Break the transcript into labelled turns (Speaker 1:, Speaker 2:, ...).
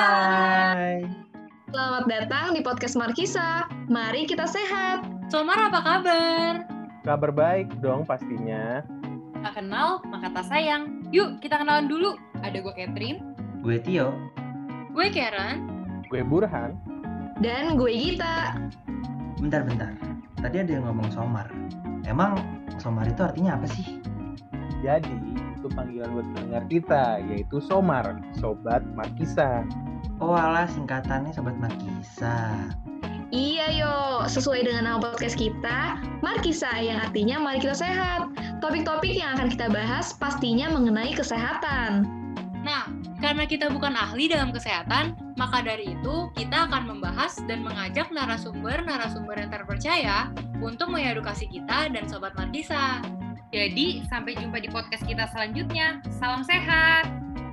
Speaker 1: Hai,
Speaker 2: Hai,
Speaker 1: selamat datang di podcast Markisa. Mari kita sehat.
Speaker 3: Somar apa kabar?
Speaker 2: kabar baik dong pastinya.
Speaker 3: Tak kenal, maka tak sayang. Yuk kita kenalan dulu. Ada gue Catherine,
Speaker 4: Gue Tio,
Speaker 3: gue Karen.
Speaker 2: Gue Burhan.
Speaker 1: Dan gue Gita.
Speaker 4: bentar-bentar. Tadi ada yang ngomong somar. Emang somar itu artinya apa sih?
Speaker 2: Jadi, itu panggilan buat pendengar kita, yaitu Somar, Sobat Markisa.
Speaker 4: Oh alah singkatannya Sobat Markisa.
Speaker 1: Iya yo, sesuai dengan nama podcast kita, Markisa yang artinya mari kita sehat. Topik-topik yang akan kita bahas pastinya mengenai kesehatan.
Speaker 3: Nah, karena kita bukan ahli dalam kesehatan, maka dari itu kita akan membahas dan mengajak narasumber-narasumber yang terpercaya untuk mengedukasi kita dan Sobat Markisa. Jadi, sampai jumpa di podcast kita selanjutnya. Salam sehat!